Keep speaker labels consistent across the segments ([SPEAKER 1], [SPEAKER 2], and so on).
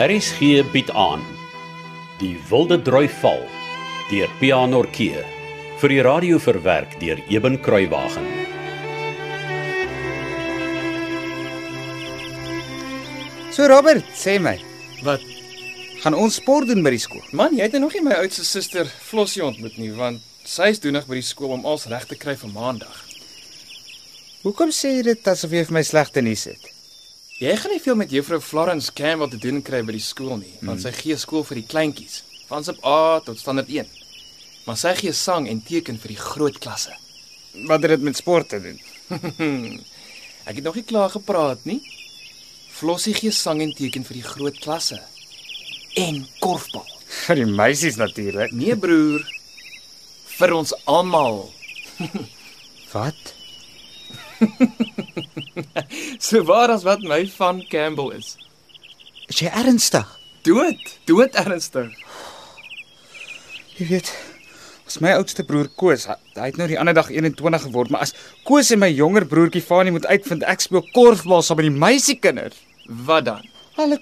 [SPEAKER 1] Harris gee bied aan. Die wilde droi val deur Pianorkee vir die radio verwerk deur Eben Kruiwagen.
[SPEAKER 2] So Robert, sê my,
[SPEAKER 3] Wat?
[SPEAKER 2] gaan ons sport doen by die skool?
[SPEAKER 3] Man, jy het nou nog nie my oudste suster Flossie ontmoet nie, want sy is doenig by die skool om alles reg te kry vir Maandag.
[SPEAKER 2] Hoekom sê jy dit asof jy vir my slegte nuus het?
[SPEAKER 3] Jy gaan nie veel met juffrou Florence Campbell te doen kry by die skool nie, want sy gee skool vir die kleintjies, van sub A tot standaard 1. Maar sy gee sang en teken vir die groot klasse.
[SPEAKER 2] Wat het dit met sport te doen?
[SPEAKER 3] Ek het nog nie klaar gepraat nie. Flossie gee sang en teken vir die groot klasse en korfbal.
[SPEAKER 2] Vir die meisies natuurlik.
[SPEAKER 3] Nee broer, vir ons almal.
[SPEAKER 2] Wat?
[SPEAKER 3] So waar as wat my van Campbell is.
[SPEAKER 2] Is jy ernstig?
[SPEAKER 3] Dood, dood ernstig.
[SPEAKER 2] Jy weet, as my oudste broer Koos, hy, hy het nou die ander dag 21 geword, maar as Koos en my jonger broertjie Fanie moet uitvind ek speel korfbal saam met die meisiekinders.
[SPEAKER 3] Wat dan?
[SPEAKER 2] Hulle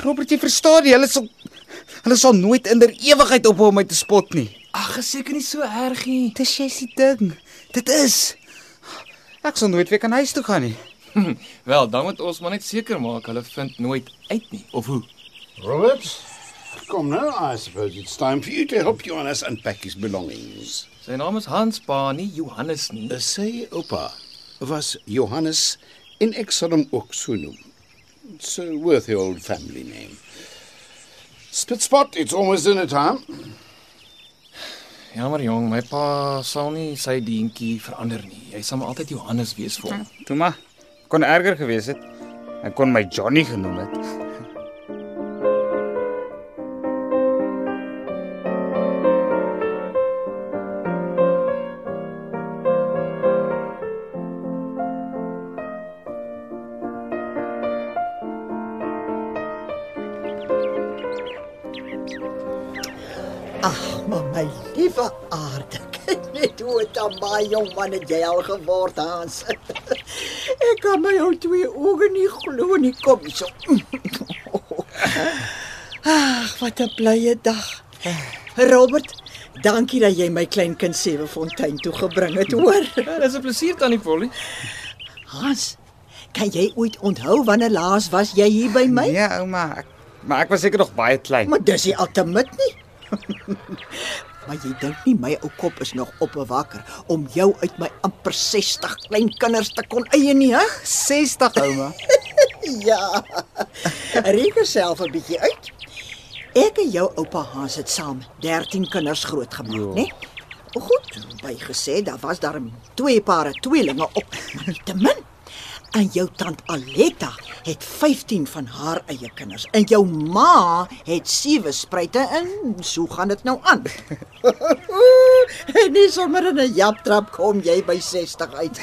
[SPEAKER 2] Robert, jy verstaan nie, hulle sal hulle sal nooit in der ewigheid ophou om my te spot nie.
[SPEAKER 3] Ag, is seker nie so erg nie.
[SPEAKER 2] Dis jy's die ding. Dit is Ek sal nooit weer kan huis toe gaan nie.
[SPEAKER 3] Wel, dan moet ons maar net seker maak hulle vind nooit uit nie. Of hoe?
[SPEAKER 4] Robert, come now. I suppose it's time for you to help Johannes unpack his belongings.
[SPEAKER 3] Sy naam is Hans Pa, nie Johannes nie.
[SPEAKER 4] Sy oupa Uh, was Johannes en ek sal hom ook so noem. It's a worthy old family name. Spitspot, it's almost dinner time.
[SPEAKER 3] Jammer jong, my pa sal nie sy deentjie verander nie. Hy sal maar altyd Johannes wees vir hom.
[SPEAKER 2] Toe maar. Kon erger gewees het. Ek kon my Johnny genoem het.
[SPEAKER 5] Ag, maar my liewe aarde. kyk Net hoe dit aan my jong man het jy al geword, Hans. Ek kan my ou twee oë nie glo nie, kom hier so. Ag, wat 'n blye dag. Robert, dankie dat jy my kleinkind Sewe Fontein toe gebring het, hoor.
[SPEAKER 3] Ja, dis 'n plesier tannie Polly.
[SPEAKER 5] Hans, kan jy ooit onthou wanneer laas was jy hier by my?
[SPEAKER 2] Nee, ouma, ek, maar ek was seker nog baie klein.
[SPEAKER 5] Maar dis die ultimate nie. maar jy dink nie my ou kop is nog opbewakker om jou uit my amper 60 klein kinders te kon eie nie, hè?
[SPEAKER 2] 60 ouma.
[SPEAKER 5] Ja. Reken self 'n bietjie uit. Ek en jou oupa Hans het saam 13 kinders grootgemaak, né? Goed, bygesê, daar was daarom twee pare tweelinge op, maar nietemin. En jou tant Aletta het 15 van haar eie kinders. En jou ma het sewe spruite in. So gaan dit nou aan. en nie sommer in 'n japtrap kom jy by 60 uit.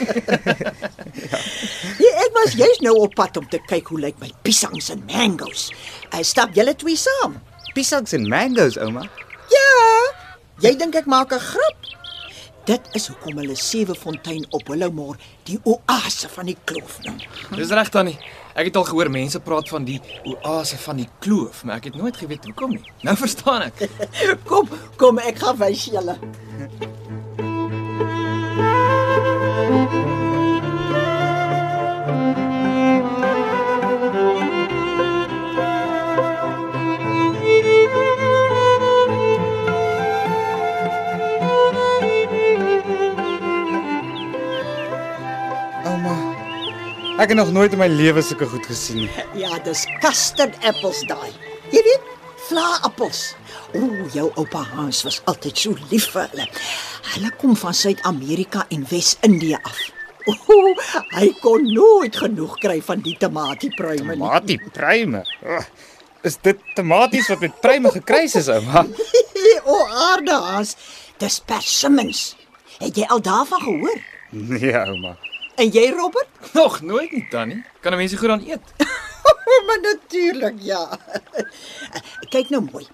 [SPEAKER 5] Nee, ek was juis nou op pad om te kyk hoe lyk my piesangs en mangoes. Ek stap julle twee saam.
[SPEAKER 2] Piesangs en mangoes, ouma.
[SPEAKER 5] Ja, jy dink ek maak 'n grap? Dit is hoekom hulle Sewe Fontein op Willowmoor die oase van die kloof noem.
[SPEAKER 3] Dis reg tannie. Ek het al gehoor mense praat van die oase van die kloof, maar ek het nooit geweet hoekom nie. Nou verstaan ek.
[SPEAKER 5] Kom, kom ek gaan wys julle.
[SPEAKER 2] Ouma. Ek het nog nooit in my lewe sulke goed gesien nie.
[SPEAKER 5] Ja, dis custard appels daai. Jy weet, vlaappels. O, jou oupa Hans was altyd so lief vir hulle. Hulle kom van Suid-Amerika en Wes-Indië af. O, hy kon nooit genoeg kry van die tomatiepruime nie.
[SPEAKER 2] Tomatie pruime. Is dit tomaties wat met pruime gekruis is, ouma?
[SPEAKER 5] o, aarde Hans, dis persimmons. Het jy al daarvan gehoor?
[SPEAKER 2] Nee, ouma.
[SPEAKER 5] En jy, Robert?
[SPEAKER 3] Nog nooit nie tannie. Kan 'n mens nie goed aan eet?
[SPEAKER 5] maar natuurlik, ja. Kyk nou mooi.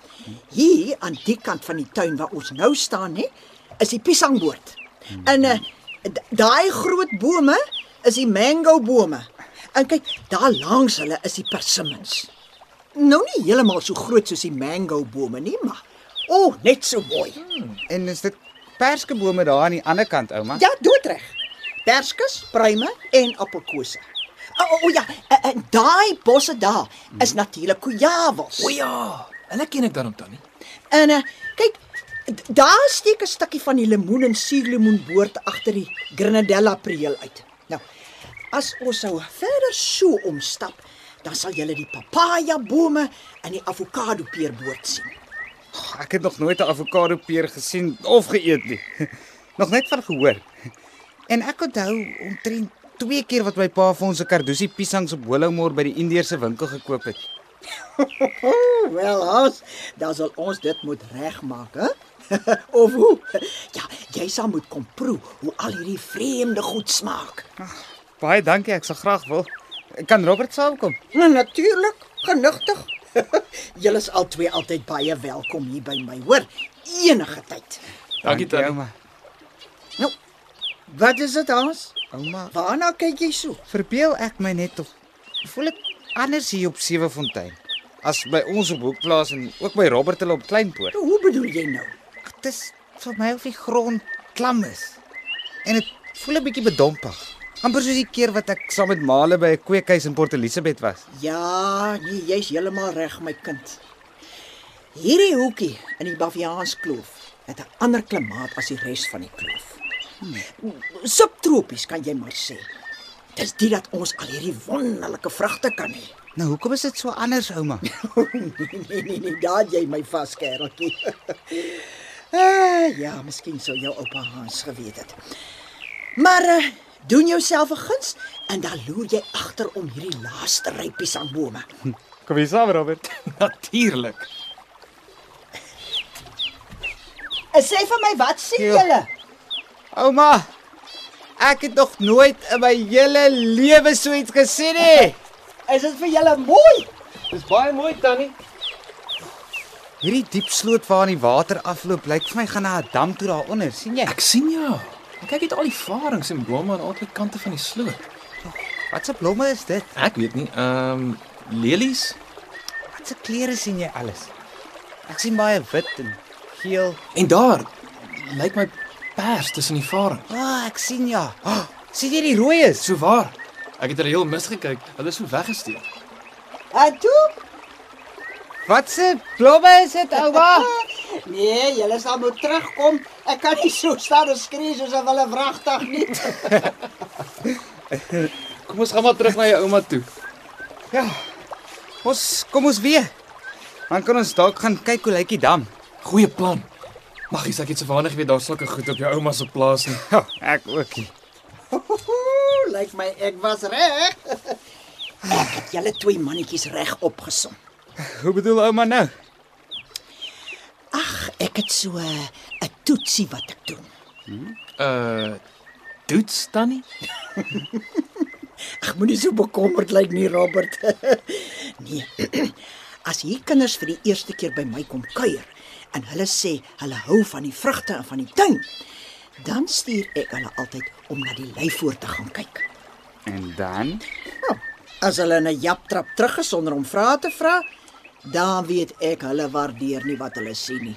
[SPEAKER 5] Hier aan die kant van die tuin waar ons nou staan, hè, is die piesangboord. En eh, da- daai groot bome is die mango bome. En kyk, daar langs hulle is die persimmons. Nou nie heeltemal so groot soos die mangobome nie, maar o, oh, net so mooi.
[SPEAKER 2] En is dit perskebome daar aan die ander kant, ouma?
[SPEAKER 5] Ja, doodreg. Perskes, pruime en appelkose. O, o, o ja, en- en daai bosse daar is natuurlik
[SPEAKER 3] O
[SPEAKER 5] kujawels.
[SPEAKER 3] ja, hulle ken ek dan op tannie.
[SPEAKER 5] En uh, kyk, d- daar steek 'n stukkie van die lemoen en suurlemoenboord agter die Grenadella preel uit. Nou, as ons sou verder so omstap, dan sal jy die papaja bome en die avokado peerboord sien.
[SPEAKER 2] Ek het nog nooit 'n avokado peer gesien of geëet nie. Nog net van gehoor. En ek onthou omtrent twee keer wat my pa vir ons 'n kardusie piesangs op Hollowmoor by die Indiërse winkel gekoop het.
[SPEAKER 5] O, wel Hans, dan sal ons dit moet regmaak, hè? of hoe? Ja, jy sal moet kom proe hoe al hierdie vreemde goed smaak.
[SPEAKER 2] Baie dankie, ek sal graag wil. Kan Robert saamkom?
[SPEAKER 5] Nou natuurlik, genigtig. Julle is al twee altyd baie welkom hier by my, hoor? Enige tyd.
[SPEAKER 3] Dankie tannie.
[SPEAKER 2] ouma.
[SPEAKER 5] Nou, wat is dit, Hans?
[SPEAKER 2] Ouma,
[SPEAKER 5] Waarna kyk jy so?
[SPEAKER 2] verbeel ek my net of voel ek anders hier op Sewefontein as by ons op Hoekplaas en ook by Robert hulle op Kleinpoort.
[SPEAKER 5] Hoe bedoel jy nou?
[SPEAKER 2] Dit is vir my of die grond klam is. En dit voel 'n bietjie bedompig. amper soos die keer wat ek saam met Male by 'n kweekhuis in Port Elizabeth was.
[SPEAKER 5] Ja, nee, jy's heeltemal reg, my kind. Hierdie hoekie in die Baviaanskloof het 'n ander klimaat as die res van die kloof. Subtropies kan jy maar sê. Dis dit dat ons al hierdie wonderlike vrugte kan hê.
[SPEAKER 2] Nou hoekom is dit so anders, ouma?
[SPEAKER 5] nee, nee, nee, daar jy my vas kereltjie. ah, ja, miskien sou jou oupa Hans geweet het. Maar uh, doen jouself 'n guns en dan loer jy agter om hierdie laaste rypies aan bome.
[SPEAKER 2] Kom hier saam, Robert.
[SPEAKER 3] Natuurlik.
[SPEAKER 5] Eh, Sê vir my, wat sien
[SPEAKER 2] Jo.
[SPEAKER 5] julle?
[SPEAKER 2] Ouma, ek het nog nooit in my hele lewe so iets gesien nie.
[SPEAKER 5] Is dit vir julle mooi?
[SPEAKER 3] Dis baie mooi tannie.
[SPEAKER 2] Hierdie diep sloot waarin die water afloop, lyk vir my gaan na 'n dam toe daaronder, sien jy?
[SPEAKER 3] Ek sien jou. En kyk het al die varings en blomme aan albei kante van die sloot.
[SPEAKER 2] Wat se blomme is dit?
[SPEAKER 3] Ek weet nie, ehm um, lelies
[SPEAKER 2] Wat se kleure sien jy alles? Ek sien baie wit en geel.
[SPEAKER 3] en daar lyk my pers tussen die varings.
[SPEAKER 2] O, oh, ek sien ja. Oh, sien jy die rooi is?
[SPEAKER 3] So waar. Ek het hulle heel misgekyk. Hulle is so weggesteek.
[SPEAKER 5] En toe?
[SPEAKER 2] Wat se blomme is dit, ouma?
[SPEAKER 5] Nee, julle sal moet terugkom. Ek kan nie so staan en skree soos 'n wilde wragtig nie.
[SPEAKER 3] Kom ons gaan maar terug na jou ouma toe.
[SPEAKER 2] ja. Ons kom ons weer. Dan kan ons dalk gaan kyk hoe lyk die dam.
[SPEAKER 3] Goeie plan. Mag ek ek het se waarnig weet daar's sulke goed op jou ouma se plaas nie.
[SPEAKER 2] Oh, ek ook. nie.
[SPEAKER 5] Ooh, Lyk my ek was reg. Ek het julle twee mannetjies reg opgesom.
[SPEAKER 2] Hoe bedoel ouma nou?
[SPEAKER 5] Ag, ek het so 'n uh, toetsie wat ek doen.
[SPEAKER 3] Uh Toets tannie?
[SPEAKER 5] Ag, moenie so bekommerd lyk nie, Robert. nee. As hier kinders vir die eerste keer by my kom kuier en hulle sê hulle hou van die vrugte en van die tuin, dan stuur ek hulle altyd om na die lyfoort te gaan kyk.
[SPEAKER 2] En dan?
[SPEAKER 5] Nou, as hulle in 'n japtrap terug is sonder om vrae te vra, dan weet ek hulle waardeer nie wat hulle sien nie.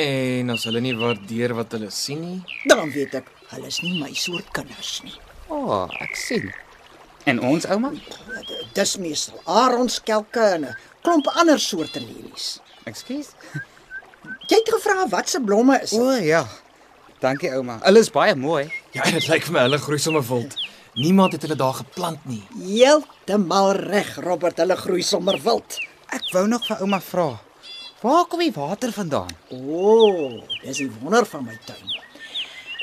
[SPEAKER 3] En as hulle nie waardeer wat hulle sien nie.
[SPEAKER 5] Dan weet ek hulle is nie my soort kinders nie.
[SPEAKER 2] O, oh, ek sien. En ons ouma?
[SPEAKER 5] D- Dis meestal aronskelke en 'n klomp ander soorte lelies.
[SPEAKER 2] Ekskuus.
[SPEAKER 5] Jy het gevra wat se blomme is.
[SPEAKER 2] O
[SPEAKER 5] dit?
[SPEAKER 2] oh, ja. Dankie ouma. Alles baie mooi.
[SPEAKER 3] Ja, dit lyk vir my hulle groei sommer wild. Niemand het hulle daar geplant nie.
[SPEAKER 5] Heeltemal reg, Robert, hulle groei sommer wild.
[SPEAKER 2] Ek wou nog vir ouma vra. Waar kom die water vandaan?
[SPEAKER 5] O, oh, dis die wonder van my tuin.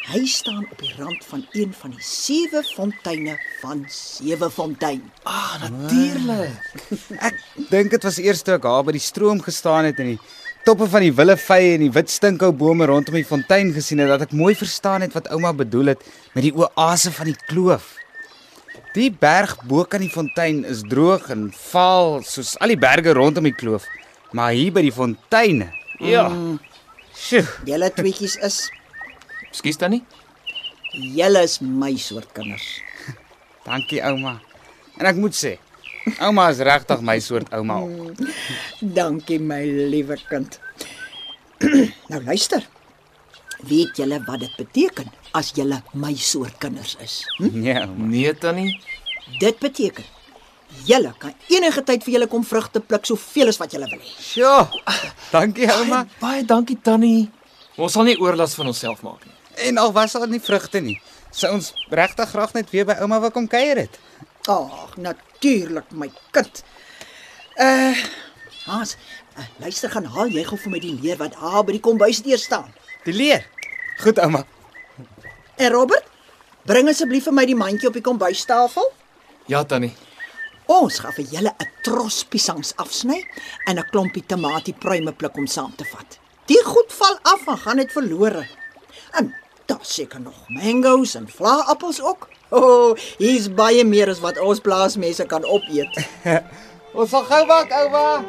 [SPEAKER 5] Hy staan op die rand van een van die sewe fonteine van Sewefontein.
[SPEAKER 3] Ah, natuurlik.
[SPEAKER 2] Ek dink dit was eers toe ek daar by die stroom gestaan het en die toppe van die willevye en die wit stinkhoubome rondom die fontein gesien het dat ek mooi verstaan het wat ouma bedoel het met die oase van die kloof. Die berg bo kan die fontein is droog en vaal soos al die berge rondom die kloof, maar hier by die fonteine. Ja. Sjoe.
[SPEAKER 5] Julle tweetjies is
[SPEAKER 3] Ekskuus tannie.
[SPEAKER 5] julle is my soort kinders.
[SPEAKER 2] Dankie ouma. En ek moet sê, Ouma is regtig my soort ouma.
[SPEAKER 5] Dankie my liewe kind. nou luister. Weet julle wat dit beteken as julle my soort kinders is? Hm?
[SPEAKER 2] Nee, ouma.
[SPEAKER 3] Nee, tannie.
[SPEAKER 5] Dit beteken julle kan enige tyd vir julle kom vrugte pluk soveel as wat julle wil hê.
[SPEAKER 2] Sjoe. Dankie ouma.
[SPEAKER 3] Baie dankie tannie. Ons sal nie oorlas van onsself maak nie.
[SPEAKER 2] En al was daar nie vrugte nie, sou ons regtig graag net weer by ouma wou kom kuier het.
[SPEAKER 5] Ag, natuurlik my kind. Uh Hans, uh, luister gaan haal jy gou vir my die leer wat daar by die kombuis deur staan.
[SPEAKER 2] Die leer. Goed ouma.
[SPEAKER 5] En Robert, bring asseblief vir my die mandjie op die kombuistafel.
[SPEAKER 3] Ja, tannie.
[SPEAKER 5] Ons gaan vir julle 'n tros piesangs afsny en 'n klompie tomatiepruime pluk om saam te vat. Die goed val af en gaan dit verlore. En daar seker nog mangoes en vlaappels ook. O, oh, hier's baie meer as wat ons plaasmense kan opeet.
[SPEAKER 2] Ons sal gou maak ouma.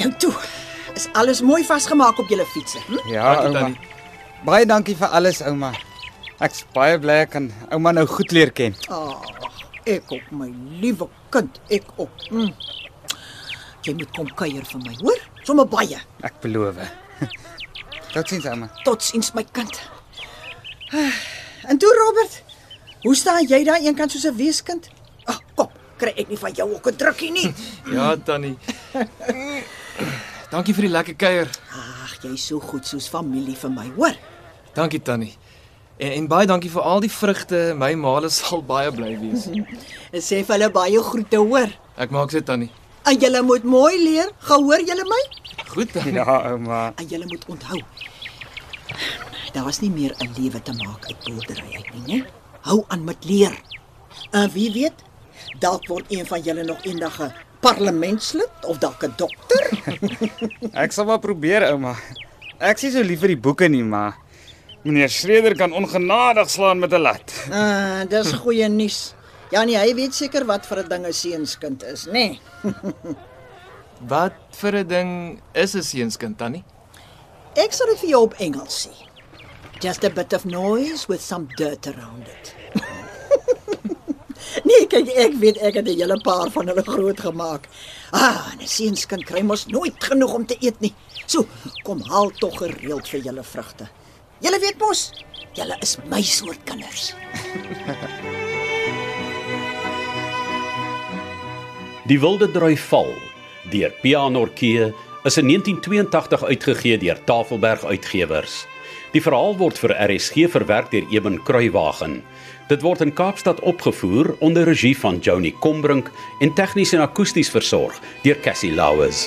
[SPEAKER 5] Nou toe, is alles mooi vasgemaak op julle fietsse. Hm?
[SPEAKER 2] Ja,
[SPEAKER 3] Dankie,
[SPEAKER 2] ouma.
[SPEAKER 3] tannie.
[SPEAKER 2] Baie dankie vir alles ouma. Ek's baie bly ek kan ouma nou goed leer ken.
[SPEAKER 5] Ag, ek ook my liewe kind, ek ook. Mm. Jy moet kom kuier vir my, hoor? Somme baie.
[SPEAKER 2] Ek beloof. Totsiens ouma.
[SPEAKER 5] Totsiens my kind. Ah, En toe Robert, hoe staan jy daar eenkant soos 'n weeskind? Ag, kom, kry ek nie van jou ook 'n drukkie nie.
[SPEAKER 3] Ja, tannie. dankie vir die lekker kuier.
[SPEAKER 5] Ag, jy's so goed soos familie vir my, hoor?
[SPEAKER 3] Dankie tannie. En, en baie dankie vir al die vrugte. My maale sal baie bly wees.
[SPEAKER 5] En sê vir hulle baie groete, hoor?
[SPEAKER 3] Ek maak dit tannie.
[SPEAKER 5] En julle moet mooi leer, gehoor julle my?
[SPEAKER 3] Goed tannie.
[SPEAKER 2] Ja ouma.
[SPEAKER 5] En julle moet onthou. Daar's nie meer 'n lewe te maak uit boerdery uit nie, né? Hou aan met leer. En wie weet, dalk word een van julle nog eendag 'n parlementslid of dalk 'n dokter.
[SPEAKER 2] Ek sal maar probeer, ouma. Ek sien so lief vir die boeke nie, maar meneer Schreder kan ongenadig slaan met 'n lat.
[SPEAKER 5] Ah, dis goeie nuus. Ja nee, hy weet seker wat vir 'n ding 'n seunskind is, né? Nee.
[SPEAKER 3] Wat vir 'n ding is 'n seunskind tannie?
[SPEAKER 5] Ek sal dit vir jou op Engels sê. Just a bit of noise with some dirt around it. nee, kyk, ek weet ek het 'n hele paar van hulle groot gemaak. Ah, 'n seunskind kry mos nooit genoeg om te eet nie. So, kom haal tog gereeld vir julle vrugte. Julle weet mos, julle is my soort kinders.
[SPEAKER 1] Die Wilde Droi Val deur Pianorkee is in 1982 uitgegee deur Tafelberg Uitgewers. Die verhaal word vir RSG verwerk deur Eben Kruiwagen. Dit word in Kaapstad opgevoer onder regie van Johnny Combrink en tegnies en akoesties versorg deur Cassie Lauers.